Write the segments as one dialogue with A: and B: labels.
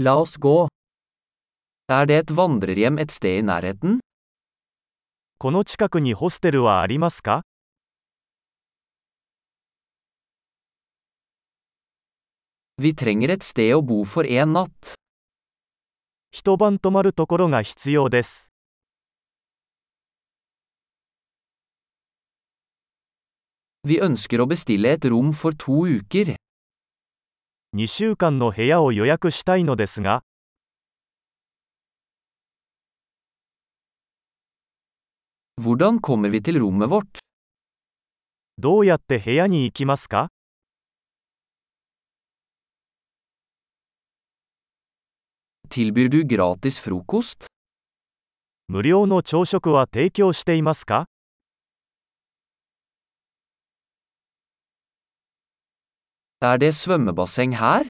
A: La oss gå. Er det et vandrerhjem et sted i nærheten?
B: この近くにホステルはありますか
A: Vi trenger et sted å bo for én natt.
B: 一晩泊まるところが必要です。
A: Vi ønsker å bestille et rom for to uker.
B: 2週間の部屋を予約したいのですが、
A: Hvordan kommer vi til rommet vårt?
B: どうやって部屋に行きますか
A: Tilbyr du gratis frokost?
B: 無料の朝食は提供していますか
A: Er det svømmebasseng her?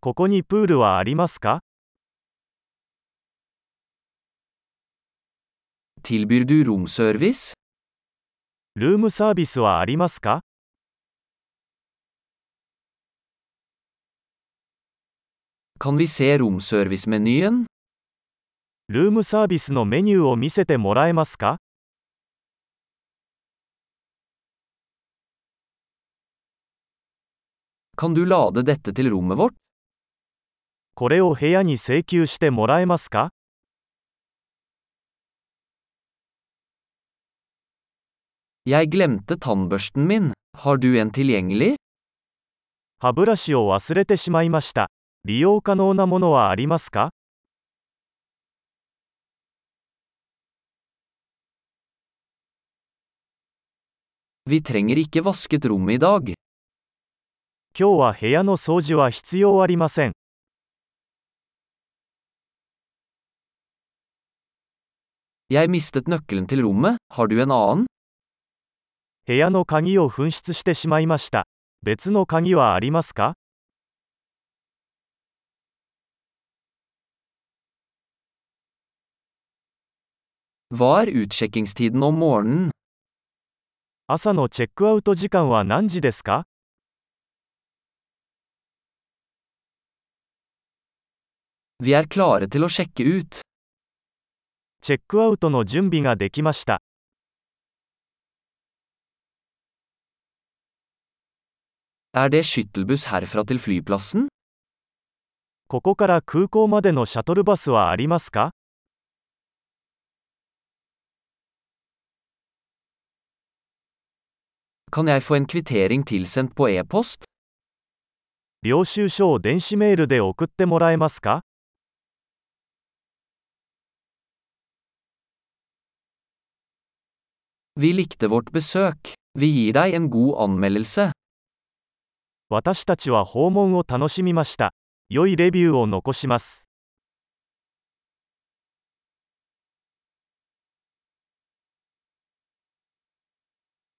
B: ここにプールはありますか
A: Tilbyr du romservice?
B: ルームサービスはありますか
A: Kan vi se romservice-menyen?
B: ルームサービスのメニューを見せてもらえますか
A: Kan du lade dette til rommet vårt?
B: これを部屋に請求してもらえますか
A: Jeg glemte tannbørsten min. Har du en tilgjengelig?
B: 歯ブラシを忘れてしまいました。利用可能なものはありますか
A: Vi trenger ikke vasket rommet i dag.
B: 今日は部屋の掃除は必要ありません。
A: Jeg mistet nøkkelen til rommet, har du en annen?
B: 部屋の鍵を紛失してしまいました。別の鍵はありますか
A: Hva er utsjekkingstiden om morgenen?
B: 朝のチェックアウト時間は何時ですか
A: Vi er klare til å sjekke ut.
B: チェックアウトの準備ができました。
A: Er det skyttelbuss herfra til flyplassen?
B: ここから空港までのシャトルバスはありますか
A: Kan jeg få en kvittering tilsendt på e-post?
B: 領収書を電子メールで送ってもらえますか
A: Vi likte vårt besøk. Vi gir deg en god anmeldelse.
B: 私たちは訪問を楽しみました。良いレビューを残します。